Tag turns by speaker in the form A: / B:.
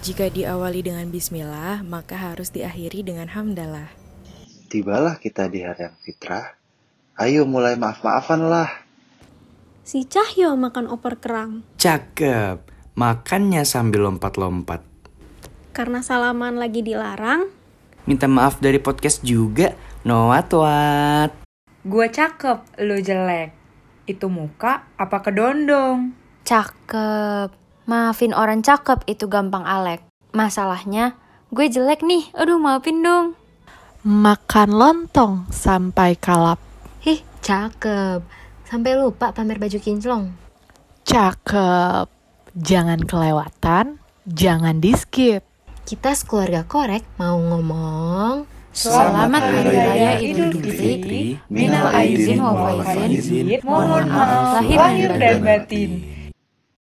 A: Jika diawali dengan bismillah, maka harus diakhiri dengan hamdalah.
B: Tibalah kita di hari yang fitrah. Ayo mulai maaf-maafan lah.
C: Si Cahyo makan opor kerang.
D: Cakep. Makannya sambil lompat-lompat.
C: Karena salaman lagi dilarang,
D: Minta maaf dari podcast juga. Noat wat.
E: Gua cakep, lu jelek. Itu muka apa kedondong?
F: Cakep. Maafin orang cakep itu gampang Alek. Masalahnya, gue jelek nih. Aduh, maafin dong.
G: Makan lontong sampai kalap.
H: Hih, cakep. Sampai lupa pamer baju kinclong.
G: Cakep. Jangan kelewatan, jangan di skip.
H: Kita sekeluarga korek mau ngomong.
F: Selamat Hari Raya Idul
D: Fitri.
F: Fitri. Minal aidin wal faizin.
E: Mohon maaf lahir dan batin.